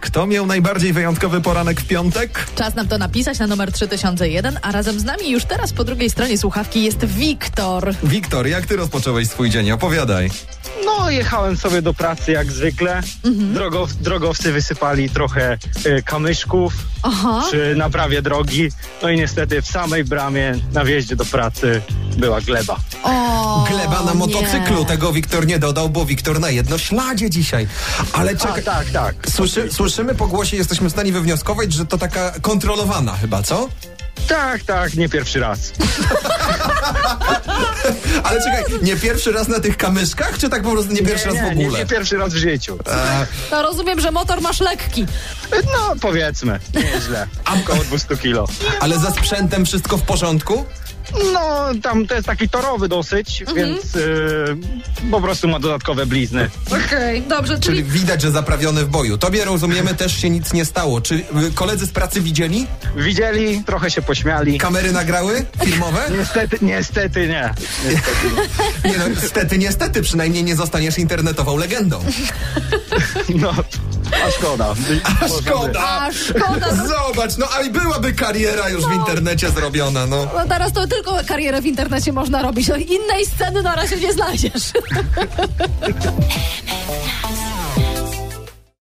Kto miał najbardziej wyjątkowy poranek w piątek? Czas nam to napisać na numer 3001, a razem z nami już teraz po drugiej stronie słuchawki jest Wiktor. Wiktor, jak ty rozpocząłeś swój dzień? Opowiadaj. No, jechałem sobie do pracy jak zwykle. Drogow, drogowcy wysypali trochę y, kamyszków Aha. przy naprawie drogi. No i niestety w samej bramie na wjeździe do pracy była gleba. O, Gleba na motocyklu. tak- nie. Tego Wiktor nie dodał, bo Wiktor na jedno śladzie dzisiaj. Ale A, czekaj. tak, tak. Słyszy, słyszymy po głosie, jesteśmy w stanie wywnioskować, że to taka kontrolowana chyba, co? Tak, tak, nie pierwszy raz. Ale czekaj, nie pierwszy raz na tych kamyszkach, czy tak po prostu nie pierwszy nie, raz w nie, Nie, ogóle? nie pierwszy raz w życiu. To rozumiem, że motor masz lekki. No, powiedzmy, nieźle. Około 200 kilo. Ale ze sprzętem wszystko w porządku? No, tam to jest taki torowy dosyć, więc y, po prostu ma dodatkowe blizny. Okej, dobrze, Czyli czyli... widać, że zaprawiony w boju. Tobie rozumiemy, też się nic nie stało. Czy y, koledzy z pracy widzieli? Widzieli, trochę się pośmiali. Kamery nagrały? Filmowe? Niestety, niestety nie. Niestety nie. Nie no, niestety, niestety, przynajmniej nie zostaniesz internetową legendą. No, a szkoda. A szkoda! A szkoda, no, Zobacz, no a i byłaby kariera już w internecie zrobiona, no. no teraz to tylko karierę w internecie można robić. No, Innej sceny na razie nie znajdziesz.